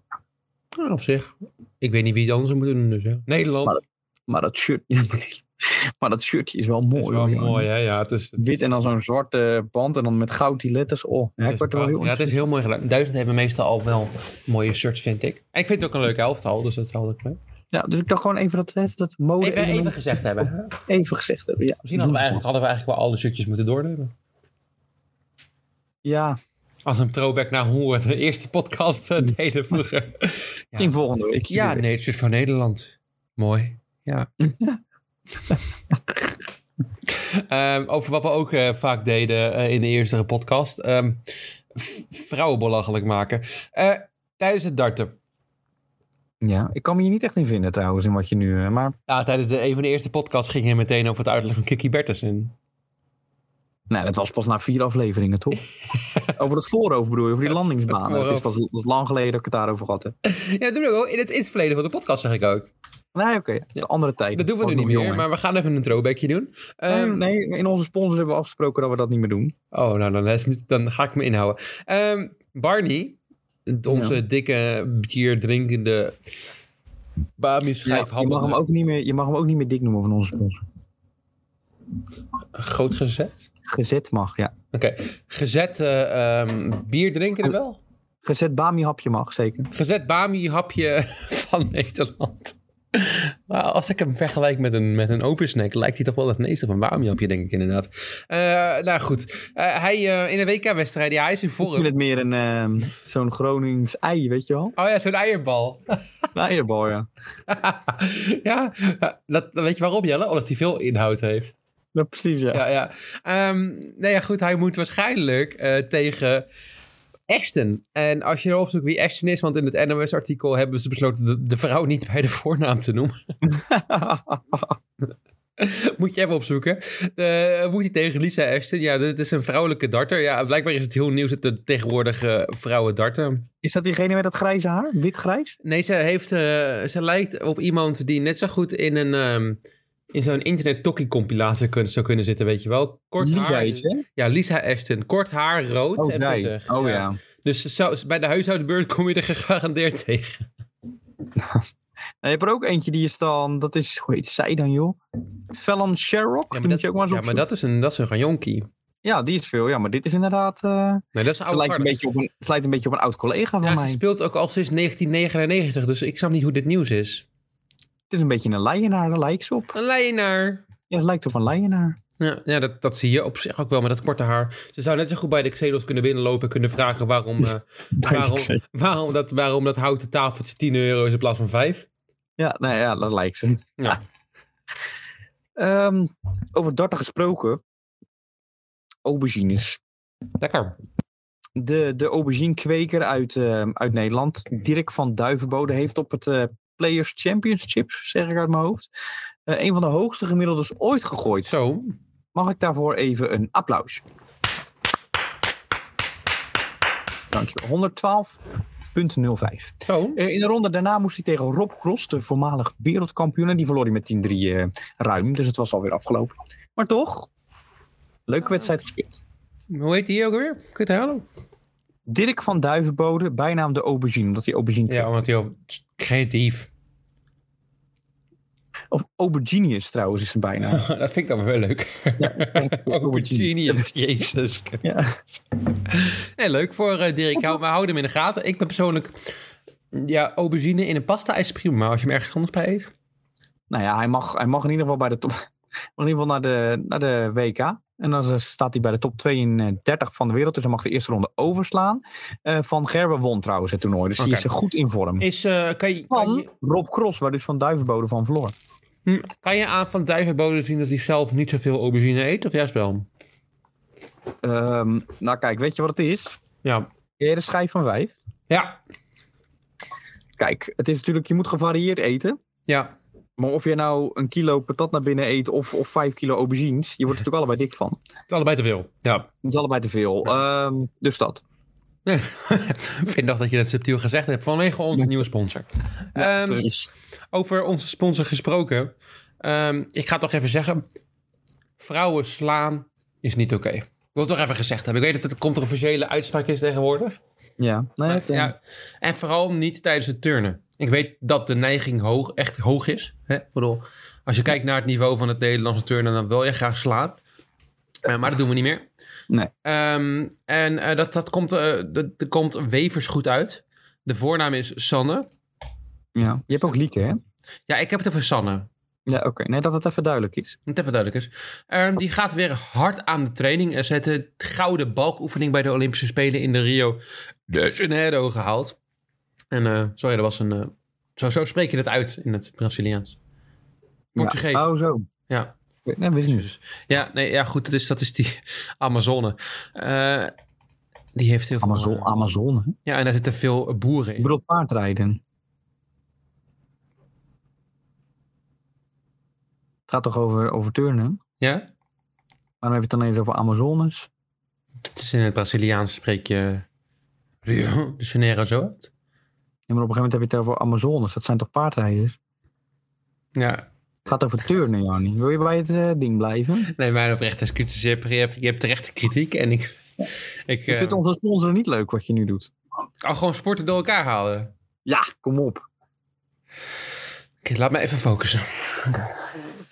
[SPEAKER 1] Nou, op zich. Ik weet niet wie het anders moet doen. Dus, ja. Nederland.
[SPEAKER 3] Maar Maar dat shirt... maar dat shirtje is wel mooi.
[SPEAKER 1] dat is wel
[SPEAKER 3] hoor, jongen.
[SPEAKER 1] mooi, hè? Ja, het is, het
[SPEAKER 3] Wit
[SPEAKER 1] is-
[SPEAKER 3] en dan zo'n zwarte band en dan met goud die letters. Oh, ja,
[SPEAKER 1] het
[SPEAKER 3] ik
[SPEAKER 1] is
[SPEAKER 3] word er wel
[SPEAKER 1] prachtig.
[SPEAKER 3] heel...
[SPEAKER 1] ja, het is heel mooi gedaan. Duitsland hebben meestal al wel mooie shirts, vind ik. En ik vind het ook een leuke elftal, dus dat hou ik mee.
[SPEAKER 3] Ja, dus ik dacht gewoon even dat, dat, dat mode
[SPEAKER 1] Even,
[SPEAKER 3] element
[SPEAKER 1] even gezegd hebben. Misschien
[SPEAKER 3] even gezegd hebben. Ja.
[SPEAKER 1] hadden we, eigenlijk, hadden we eigenlijk wel alle shirtjes moeten doornemen.
[SPEAKER 3] Ja,
[SPEAKER 1] Als een throwback naar hoe we de eerste podcast eh, deden vroeger.
[SPEAKER 3] in volgende week.
[SPEAKER 1] Ja, nee, het shirt van Nederland. Mooi. Ja. Ehm, over wat we ook eh, vaak deden eh, in de eerste podcast. ehm, v- vrouwen belachelijk maken. Eh, tijdens het darten.
[SPEAKER 3] Ja, ik kan me hier niet echt in vinden trouwens in wat je nu... eh, Maar
[SPEAKER 1] Ja, tijdens de, een van de eerste podcasts ging hij meteen over het uiterlijk van Kiki Bertensen.
[SPEAKER 3] nee, Nou, dat was pas na vier afleveringen, toch? over het voorhoofd bedoel je, over die landingsbaan.
[SPEAKER 1] het
[SPEAKER 3] Het is pas dat is lang geleden dat ik het daarover gehad heb.
[SPEAKER 1] Ja, dat doen we ook wel. in het, in het verleden van de podcast zeg ik ook.
[SPEAKER 3] Nee, oké, het is een andere tijd.
[SPEAKER 1] Dat doen we nu niet meer, maar we gaan even een throwbackje doen. Ehm,
[SPEAKER 3] nee, in onze sponsor hebben we afgesproken dat we dat niet meer doen.
[SPEAKER 1] Oh, nou, dan, is niet- dan ga ik me inhouden. Ehm, Barney, onze dikke bierdrinkende Bami
[SPEAKER 3] je, mag hem
[SPEAKER 1] schijfhandel.
[SPEAKER 3] ook niet meer, je mag hem ook niet meer dik noemen van onze sponsor.
[SPEAKER 1] groot gezet.
[SPEAKER 3] Gezet mag, ja.
[SPEAKER 1] Oké, gezet eh ehm bierdrinkende wel?
[SPEAKER 3] Gezet Bami-hapje mag, zeker.
[SPEAKER 1] Gezet Bami-hapje van Nederland. Maar als ik hem vergelijk met een, met een oversnack, lijkt hij toch wel het meeste van Bami-hapje, denk ik inderdaad. Eh, nou goed, Eh, hij eh, in een WK-wedstrijd, ja, hij is in
[SPEAKER 3] Ik vind
[SPEAKER 1] vorm.
[SPEAKER 3] het meer een, ehm, zo'n Gronings ei, weet je wel?
[SPEAKER 1] Oh ja, zo'n eierbal.
[SPEAKER 3] Een eierbal, ja.
[SPEAKER 1] ja, dat, dat weet je waarom, Jelle? Omdat hij veel inhoud heeft.
[SPEAKER 3] Ja, precies, ja.
[SPEAKER 1] Ja, ja. Ehm nou ja, goed, hij moet waarschijnlijk eh, tegen Ashton. En als je erop zoekt wie Ashton is, want in het NOS-artikel hebben ze besloten de, de vrouw niet bij de voornaam te noemen. moet je even opzoeken. Eh moet hij tegen Lisa Ashton? Ja, dit is een vrouwelijke darter. Ja, blijkbaar is het heel nieuws dat er tegenwoordig eh, vrouwen darten.
[SPEAKER 3] Is dat diegene met dat grijze haar? Wit-grijs?
[SPEAKER 1] Nee, ze, heeft, eh, ze lijkt op iemand die net zo goed in een... ehm, in zo'n internet tokkie compilatie zou kunnen zitten, weet je wel. Kort
[SPEAKER 3] Lisa
[SPEAKER 1] haar.
[SPEAKER 3] iets, hè?
[SPEAKER 1] Ja, Lisa Ashton. Kort haar, rood
[SPEAKER 3] Oh,
[SPEAKER 1] en
[SPEAKER 3] zij.
[SPEAKER 1] pittig.
[SPEAKER 3] Oh ja.
[SPEAKER 1] Dus zou- bij de huishoudbeurt kom je er gegarandeerd tegen.
[SPEAKER 3] En je hebt er ook eentje die is dan, dat is, hoe heet zij dan joh? Fallon Sherrock, ja, moet je ook maar eens
[SPEAKER 1] ja, maar
[SPEAKER 3] opzoeken.
[SPEAKER 1] dat is een, dat is een ganjonkie.
[SPEAKER 3] Ja, die is veel, ja, maar dit is inderdaad, eh
[SPEAKER 1] Nou, dat is een
[SPEAKER 3] ze
[SPEAKER 1] oude
[SPEAKER 3] lijkt een,
[SPEAKER 1] garde.
[SPEAKER 3] beetje op een, ze lijkt een beetje op een oud collega van
[SPEAKER 1] Ja,
[SPEAKER 3] mij.
[SPEAKER 1] ze speelt ook al sinds 1999, dus ik snap niet hoe dit nieuws is.
[SPEAKER 3] Het is een beetje een leienaar, daar lijkt ze op.
[SPEAKER 1] Een leienaar.
[SPEAKER 3] Ja, ze lijkt op een leienaar.
[SPEAKER 1] Ja, ja dat, dat zie je op zich ook wel met dat korte haar. Ze zou net zo goed bij de Xenos kunnen binnenlopen en kunnen vragen waarom, eh, waarom, waarom, dat, waarom dat houten tafeltje 10 euro is in plaats van 5.
[SPEAKER 3] Ja, nou ja, dat lijkt ze.
[SPEAKER 1] Ja.
[SPEAKER 3] Ehm, over darten gesproken. Aubergines.
[SPEAKER 1] Lekker.
[SPEAKER 3] De, de auberginekweker uit, ehm, uit Nederland, Dirk van Duivenbode, heeft op het eh, Players Championship, zeg ik uit mijn hoofd, eh, een van de hoogste gemiddeldes ooit gegooid.
[SPEAKER 1] Zo.
[SPEAKER 3] Mag ik daarvoor even een applaus? Dankjewel. 112,05.
[SPEAKER 1] Zo.
[SPEAKER 3] Eh, in de ronde daarna moest hij tegen Rob Cross, de voormalig wereldkampioen. En die verloor hij met 10-3 eh, ruim. Dus het was alweer afgelopen. Maar toch, leuke wedstrijd gespeeld.
[SPEAKER 1] Hoe heet die ook weer? Kun je het herhalen?
[SPEAKER 3] Dirk van Duivenbode, bijnaam de aubergine. Omdat hij aubergine
[SPEAKER 1] Ja, omdat hij al creatief.
[SPEAKER 3] Of auberginius trouwens is zijn bijnaam.
[SPEAKER 1] Dat vind ik dan wel weer leuk. Genius, jezus.
[SPEAKER 3] Ja.
[SPEAKER 1] En leuk voor eh, Dirk. Hou, we houden hem in de gaten. Ik ben persoonlijk... Ja, aubergine in een pasta is prima. Maar als je hem ergens anders bij eet...
[SPEAKER 3] Nou ja, hij mag, hij mag in ieder geval bij de top. In ieder geval naar de, naar de WK. En dan eh, staat hij bij de top 32 van de wereld. Dus hij mag de eerste ronde overslaan. Eh, van Gerber won trouwens het toernooi. Dus die
[SPEAKER 1] Oké.
[SPEAKER 3] is er goed in vorm.
[SPEAKER 1] Is, eh, kan, je, kan,
[SPEAKER 3] Van
[SPEAKER 1] je,
[SPEAKER 3] Rob Cross, waar dus Van Duivenbode van verloor.
[SPEAKER 1] hm, kan je aan Van Duivenbode zien dat hij zelf niet zoveel aubergine eet? Of juist wel?
[SPEAKER 3] Ehm, nou kijk, weet je wat het is?
[SPEAKER 1] Ja.
[SPEAKER 3] Ken je de schijf van vijf?
[SPEAKER 1] Ja.
[SPEAKER 3] Kijk, het is natuurlijk, je moet gevarieerd eten.
[SPEAKER 1] Ja.
[SPEAKER 3] Maar of je nou een kilo patat naar binnen eet of, of vijf kilo aubergines, je wordt er natuurlijk allebei dik van.
[SPEAKER 1] Het is allebei te veel. Ja.
[SPEAKER 3] Dat is allebei te veel. Ehm, dus dat.
[SPEAKER 1] Ik vind nog dat je dat subtiel gezegd hebt vanwege onze nieuwe sponsor. Ehm,
[SPEAKER 3] Precies.
[SPEAKER 1] over onze sponsor gesproken. Ehm, ik ga het toch even zeggen. Vrouwen slaan is niet oké. Ik wil het toch even gezegd hebben. Ik weet dat het een controversiële uitspraak is tegenwoordig.
[SPEAKER 3] ja. Nee,
[SPEAKER 1] Maar,
[SPEAKER 3] het, eh,
[SPEAKER 1] ja, en vooral niet tijdens het turnen. Ik weet dat de neiging hoog, echt hoog is. Hè? Ik bedoel, als je kijkt naar het niveau van het Nederlandse turnen, dan wil je graag slaan. Eh, maar dat doen we niet meer.
[SPEAKER 3] Nee.
[SPEAKER 1] Ehm, en eh, dat, dat, komt, eh, dat, dat komt Wevers goed uit. De voornaam is Sanne.
[SPEAKER 3] ja. Je hebt ook lieken, hè?
[SPEAKER 1] Ja, ik heb het over Sanne.
[SPEAKER 3] Ja, oké. Nee, dat het even duidelijk is.
[SPEAKER 1] Dat even duidelijk is. Ehm, die gaat weer hard aan de training. En ze heeft de gouden balkoefening bij de Olympische Spelen in de Rio de Janeiro gehaald. En eh, sorry, dat was een... eh, zo, zo spreek je dat uit in het Braziliaans. Portugees.
[SPEAKER 3] Ja. Oh, zo.
[SPEAKER 1] Ja.
[SPEAKER 3] Nee, wist ik niet.
[SPEAKER 1] Ja, nee, ja goed, dat is, dat is die Amazone. Eh, die heeft heel veel...
[SPEAKER 3] Amazon, Amazone.
[SPEAKER 1] Ja, en daar zitten veel boeren
[SPEAKER 3] Ik
[SPEAKER 1] in.
[SPEAKER 3] bedoel paardrijden. Het gaat toch over, over turnen?
[SPEAKER 1] Ja?
[SPEAKER 3] Waarom heb je het dan eens over Amazones?
[SPEAKER 1] Het is in het Braziliaans spreek je Rio de Janeiro zo uit.
[SPEAKER 3] Ja, maar op een gegeven moment heb je het over Amazones. Dat zijn toch paardrijders?
[SPEAKER 1] Ja,
[SPEAKER 3] Het gaat over turnen, Jannie. Wil je bij het eh, ding blijven?
[SPEAKER 1] Nee, mijn oprechte excuses. Je hebt, je hebt, je hebt terechte kritiek. En ik. ik
[SPEAKER 3] Ik
[SPEAKER 1] eh,
[SPEAKER 3] vind onze sponsor niet leuk wat je nu doet.
[SPEAKER 1] al gewoon sporten door elkaar halen. Oké,
[SPEAKER 3] Ja, kom op.
[SPEAKER 1] laat me even focussen.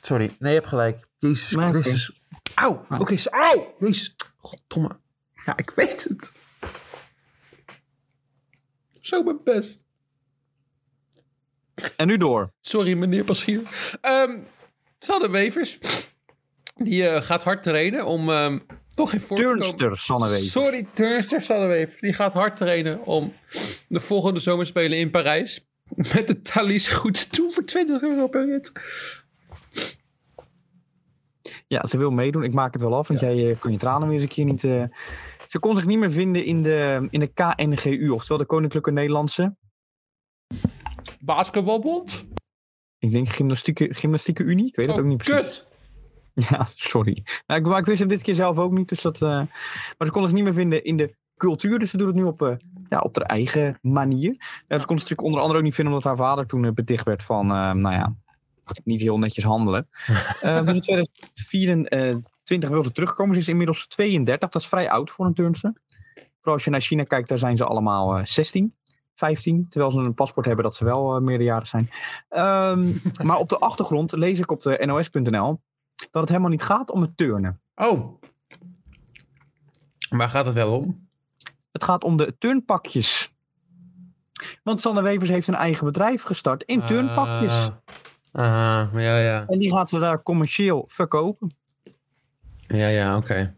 [SPEAKER 1] Sorry. Nee, je hebt gelijk. Jezus
[SPEAKER 3] Maar oké.
[SPEAKER 1] Christus. Auw. Oké, ze- auw. Jezus. Goddomme. Ja, ik weet het. Zo mijn best.
[SPEAKER 3] En nu door.
[SPEAKER 1] Sorry, meneer Paschier. Ehm Sanne Wevers. Die eh, gaat hard trainen om ehm, toch in vorm te komen.
[SPEAKER 3] Turnster, Sanne Wees.
[SPEAKER 1] Sorry, turnster Sanneweef. Die gaat hard trainen om de volgende zomerspelen in Parijs. Met de Thalys goed toe voor 20 euro per rit.
[SPEAKER 3] Ja, ze wil meedoen. Ik maak het wel af, want jij eh, kon je tranen weer eens een keer niet... eh, Ze kon zich niet meer vinden in de, in de KNGU, oftewel de Koninklijke Nederlandse...
[SPEAKER 1] Basketbalbond?
[SPEAKER 3] Ik denk gymnastieke, gymnastieke unie. Ik weet
[SPEAKER 1] Oh,
[SPEAKER 3] het ook niet precies.
[SPEAKER 1] Kut!
[SPEAKER 3] Ja, sorry. Nou, ik, maar ik wist hem dit keer zelf ook niet. Dus dat, eh, maar ze kon het niet meer vinden in de cultuur. Dus ze doet het nu op, eh, ja, op haar eigen manier. En ze kon het natuurlijk onder andere ook niet vinden omdat haar vader toen eh, beticht werd van, eh, nou ja, niet heel netjes handelen. Eh dus in 2024 wil ze terugkomen. Ze is inmiddels 32. Dat is vrij oud voor een turnster. Terwijl als je naar China kijkt, daar zijn ze allemaal eh, 16, 15. Terwijl ze een paspoort hebben dat ze wel eh, meerderjarig zijn. Ehm, maar op de achtergrond lees ik op de nos.nl dat het helemaal niet gaat om het turnen.
[SPEAKER 1] Oh. Waar gaat het wel om?
[SPEAKER 3] Het gaat om de turnpakjes. Want Sander Wevers heeft een eigen bedrijf gestart in turnpakjes.
[SPEAKER 1] Ah, ah, ja, ja.
[SPEAKER 3] En die gaat ze daar commercieel verkopen.
[SPEAKER 1] Ja, ja, oké.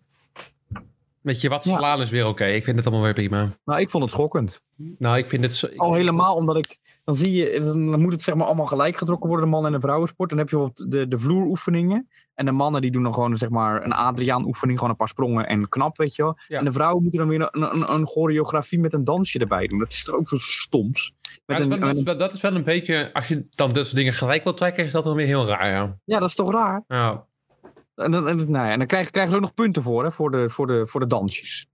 [SPEAKER 1] Weet je, wat
[SPEAKER 3] Ja.
[SPEAKER 1] slaan is weer oké. Ik vind het allemaal weer prima.
[SPEAKER 3] Nou, ik vond het schokkend.
[SPEAKER 1] Nou, ik vind het... zo- ik-
[SPEAKER 3] Al helemaal omdat ik. Dan zie je, dan moet het zeg maar allemaal gelijk getrokken worden, de mannen- en de vrouwensport. Dan heb je bijvoorbeeld de, de vloeroefeningen. En de mannen die doen dan gewoon zeg maar een Adriaan-oefening, gewoon een paar sprongen en knap, weet je wel.
[SPEAKER 1] Ja.
[SPEAKER 3] En de vrouwen moeten dan weer een, een, een choreografie met een dansje erbij doen. Dat is toch ook zo stoms.
[SPEAKER 1] Maar
[SPEAKER 3] Met
[SPEAKER 1] dat,
[SPEAKER 3] een,
[SPEAKER 1] is wel- dat,
[SPEAKER 3] met
[SPEAKER 1] is
[SPEAKER 3] een-
[SPEAKER 1] wel, dat is wel een beetje... Als je dan dat soort dingen gelijk wil trekken, is dat dan weer heel raar, ja.
[SPEAKER 3] ja, dat is toch raar?
[SPEAKER 1] Nou,
[SPEAKER 3] En dan, en, dan- nou ja, en dan krijg, krijgen ze ook nog punten voor, hè, voor, de, voor, de, voor de dansjes.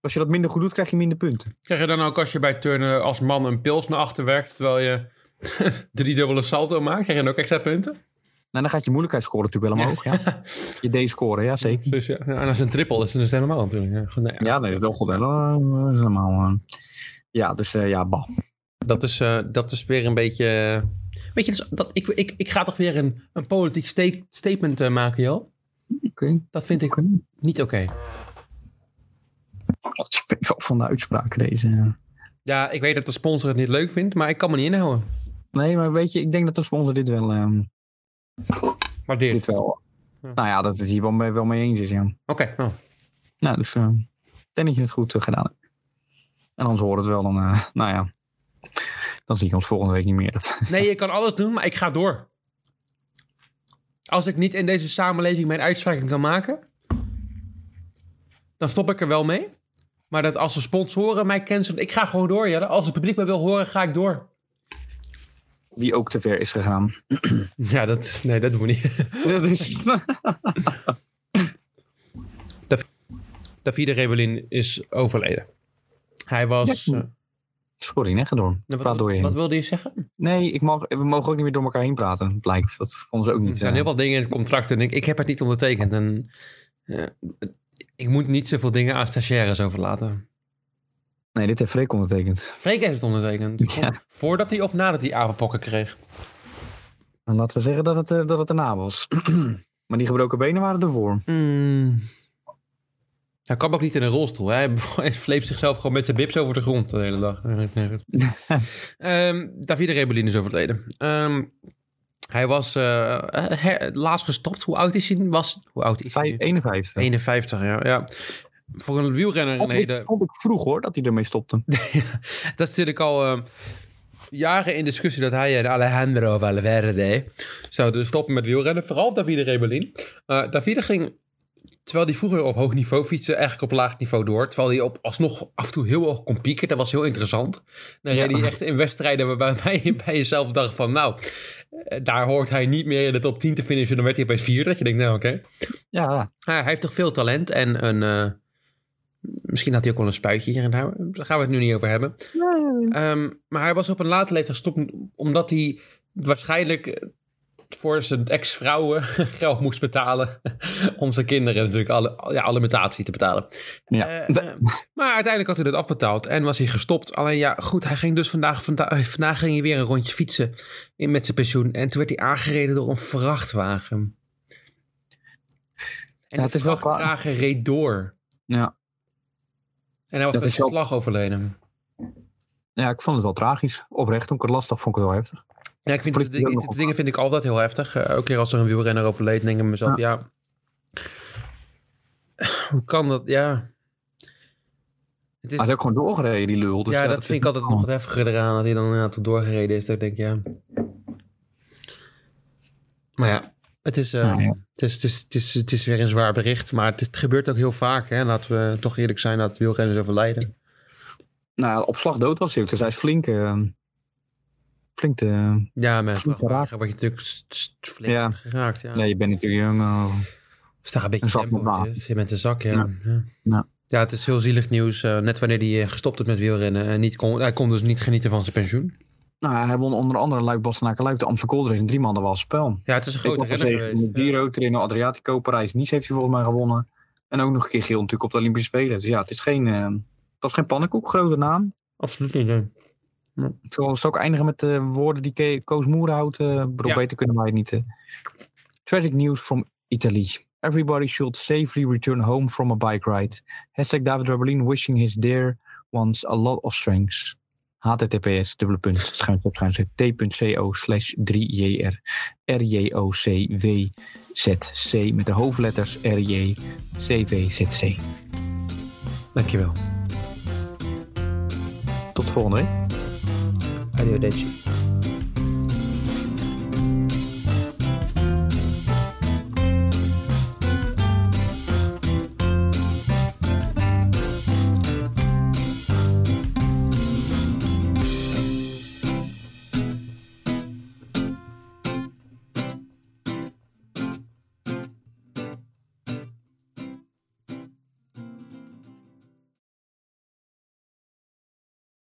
[SPEAKER 3] Als je dat minder goed doet, krijg je minder punten.
[SPEAKER 1] krijg je dan ook als je bij turnen als man een pils naar achter werkt, terwijl je drie dubbele salto maakt, krijg je dan ook extra punten?
[SPEAKER 3] Nou, dan gaat je moeilijkheidsscore natuurlijk wel omhoog. Ja. Je D-score, ja zeker.
[SPEAKER 1] Dus ja, ja, en als het een triple is, dan is het helemaal natuurlijk. Ja, Goed, nou ja.
[SPEAKER 3] Ja, nee, dat is wel goed. hè. Dat is helemaal. eh, Ja, dus eh, ja, bah.
[SPEAKER 1] Dat, is, eh, dat is weer een beetje... eh, Weet je, dus dat, ik, ik, ik ga toch weer een, een politiek sta- statement eh, maken, joh.
[SPEAKER 3] Oké.
[SPEAKER 1] Dat vind ik niet oké.
[SPEAKER 3] God, Ik ben wel van de uitspraken deze. eh.
[SPEAKER 1] Ja, ik weet dat de sponsor het niet leuk vindt, maar ik kan me niet inhouden.
[SPEAKER 3] Nee, maar weet je, ik denk dat de sponsor dit wel. ehm,
[SPEAKER 1] Maar dit.
[SPEAKER 3] dit wel.
[SPEAKER 1] Ja.
[SPEAKER 3] Nou ja, dat het hier wel mee, wel mee eens is, ja.
[SPEAKER 1] Oké. oh.
[SPEAKER 3] Nou, dus. ehm, ik denk dat je het goed eh, gedaan hebt. En anders hoort het wel dan. eh, nou ja. Dan zie ik ons volgende week niet meer. Dat,
[SPEAKER 1] Nee, je kan alles doen, maar ik ga door. Als ik niet in deze samenleving mijn uitspraken kan maken, dan stop ik er wel mee. Maar dat als de sponsoren mij cancelen, ik ga gewoon door. Jelle. Als het publiek mij wil horen, ga ik door.
[SPEAKER 3] die ook te ver is gegaan.
[SPEAKER 1] Ja, dat, is- nee, dat doen we niet.
[SPEAKER 3] dat is.
[SPEAKER 1] Davide Rebellin is overleden. Hij was...
[SPEAKER 3] Ja,
[SPEAKER 1] eh,
[SPEAKER 3] Sorry, hè, ga door. Praat
[SPEAKER 1] wat,
[SPEAKER 3] door je heen.
[SPEAKER 1] wat wilde je zeggen?
[SPEAKER 3] Nee, ik mag, we mogen ook niet meer door elkaar heen praten, blijkt. Dat vonden ze ook
[SPEAKER 1] Er
[SPEAKER 3] niet.
[SPEAKER 1] zijn
[SPEAKER 3] eh,
[SPEAKER 1] heel veel dingen in het contract en ik, ik heb het niet ondertekend. En, eh, ik moet niet zoveel dingen aan stagiaires overlaten.
[SPEAKER 3] Nee, dit heeft Freek ondertekend.
[SPEAKER 1] Freek heeft het ondertekend.
[SPEAKER 3] Ja.
[SPEAKER 1] Voordat hij of nadat hij apenpokken kreeg.
[SPEAKER 3] En Nou, laten we zeggen dat het, eh, dat het erna was. maar die gebroken benen waren ervoor. Hmm.
[SPEAKER 1] Mm. Hij kwam ook niet in een rolstoel. hè. Hij, hij sleept zichzelf gewoon met zijn bips over de grond de hele dag. Ehm Davide Rebellin is overleden. Ehm, hij was eh, her- laatst gestopt. Hoe oud is hij? Was, hoe oud is hij?
[SPEAKER 3] Vijf-
[SPEAKER 1] nu?
[SPEAKER 3] 51.
[SPEAKER 1] 51, ja. ja. Voor een wielrenner een
[SPEAKER 3] Vond Oh, ik,
[SPEAKER 1] hele...
[SPEAKER 3] vond ik vroeg hoor, dat hij ermee stopte.
[SPEAKER 1] Dat is natuurlijk al eh, jaren in discussie dat hij en Alejandro Valverde zouden stoppen met wielrennen. Vooral Davide Rebellin. Eh Davide ging, terwijl hij vroeger op hoog niveau fietste, eigenlijk op laag niveau door. Terwijl hij op alsnog af en toe heel hoog kon pieken. Dat was heel interessant. Dan reed
[SPEAKER 3] Ja.
[SPEAKER 1] hij echt in wedstrijden waarbij wij bij jezelf dacht van nou, eh, daar hoort hij niet meer in de top 10 te finishen. Dan werd hij bij vier. Dat je denkt, nou oké.
[SPEAKER 3] Ja, ja.
[SPEAKER 1] Ah, hij heeft toch veel talent en een... eh, Misschien had hij ook wel een spuitje hier en daar. Daar gaan we het nu niet over hebben. Ehm, maar hij was op een late leeftijd gestopt omdat hij waarschijnlijk eh, voor zijn ex-vrouwen geld moest betalen. om zijn kinderen natuurlijk alle, ja, alimentatie te betalen.
[SPEAKER 3] Ja.
[SPEAKER 1] Eh, eh, maar uiteindelijk had hij dat afbetaald en was hij gestopt. Alleen ja, goed, hij ging dus vandaag, vanda- eh, vandaag ging hij weer een rondje fietsen in, met zijn pensioen. En toen werd hij aangereden door een vrachtwagen. En
[SPEAKER 3] Ja,
[SPEAKER 1] de
[SPEAKER 3] het is wel kwaad.
[SPEAKER 1] vrachtwagen reed door.
[SPEAKER 3] Ja.
[SPEAKER 1] En hij was
[SPEAKER 3] Dat
[SPEAKER 1] met
[SPEAKER 3] is wel-
[SPEAKER 1] slag overleden.
[SPEAKER 3] ja, ik vond het wel tragisch. Oprecht, toen ik het lastig vond ik het wel heftig.
[SPEAKER 1] Ja, ik vind
[SPEAKER 3] Politie
[SPEAKER 1] de, dingen-
[SPEAKER 3] ook nog
[SPEAKER 1] de
[SPEAKER 3] op.
[SPEAKER 1] dingen vind ik altijd heel heftig. Eh, ook keer als er een wielrenner overleed, denk ik mezelf, ja. Hoe kan dat? Ja. Het is,
[SPEAKER 3] Hij is ook gewoon doorgereden, die lul. Dus
[SPEAKER 1] ja, dat
[SPEAKER 3] is
[SPEAKER 1] vind ik
[SPEAKER 3] niet
[SPEAKER 1] altijd nog
[SPEAKER 3] normaal.
[SPEAKER 1] wat heftiger eraan, dat hij dan inderdaad tot doorgereden is. Dat ik denk, ja. Maar ja, het is, eh,
[SPEAKER 3] Nou ja.
[SPEAKER 1] Het, is, het, is, het, is, het is weer een zwaar bericht, maar het, is- het gebeurt ook heel vaak. Hè? Laten we toch eerlijk zijn dat wielrenners overlijden.
[SPEAKER 3] Nou, ja, op slag dood was hij ook. Dus hij is flink. eh, flink eh, te.
[SPEAKER 1] Ja, maar
[SPEAKER 3] Flink
[SPEAKER 1] word
[SPEAKER 3] geraakt.
[SPEAKER 1] je natuurlijk s- s- flink
[SPEAKER 3] Ja.
[SPEAKER 1] geraakt. Ja.
[SPEAKER 3] Nee, je bent natuurlijk jong. eh,
[SPEAKER 1] Sta Dus een beetje
[SPEAKER 3] Een zak
[SPEAKER 1] tempo.
[SPEAKER 3] met water.
[SPEAKER 1] in, hè? Zit met een zak, ja.
[SPEAKER 3] Ja.
[SPEAKER 1] Ja.
[SPEAKER 3] Ja.
[SPEAKER 1] Ja, het is heel zielig nieuws. eh, net wanneer hij eh, gestopt heeft met wielrennen. En niet kon, hij kon dus niet genieten van zijn pensioen.
[SPEAKER 3] nou, ja, hij won onder andere Luik Bastenaken Luik de Amsterdam Gold Race in drie maanden was spel.
[SPEAKER 1] Ja, het is een
[SPEAKER 3] Ik
[SPEAKER 1] grote
[SPEAKER 3] nog
[SPEAKER 1] renner
[SPEAKER 3] gezegd,
[SPEAKER 1] geweest.
[SPEAKER 3] met Giro, Trino, Adriatico, Parijs, Nice heeft hij volgens mij gewonnen. En ook nog een keer geel natuurlijk op de Olympische Spelen. Dus ja, het is geen, eh, Dat is geen pannenkoek, grote naam.
[SPEAKER 1] Absoluut niet, nee.
[SPEAKER 3] Ik zal, zal ik eindigen met de woorden die Ke- Koos Moerenhout eh bedoel,
[SPEAKER 1] Ja.
[SPEAKER 3] beter kunnen wij het niet. eh. Tragic news from Italy. Everybody should safely return home from a bike ride. Hashtag David Rebellin wishing his dear ones a lot of strength. https dubbele punt schuinschop schuinschop t.co slash 3jr rjocwzc met de hoofdletters rjcwzc.
[SPEAKER 1] Dankjewel.
[SPEAKER 3] Tot volgende week.
[SPEAKER 1] Arrivederci.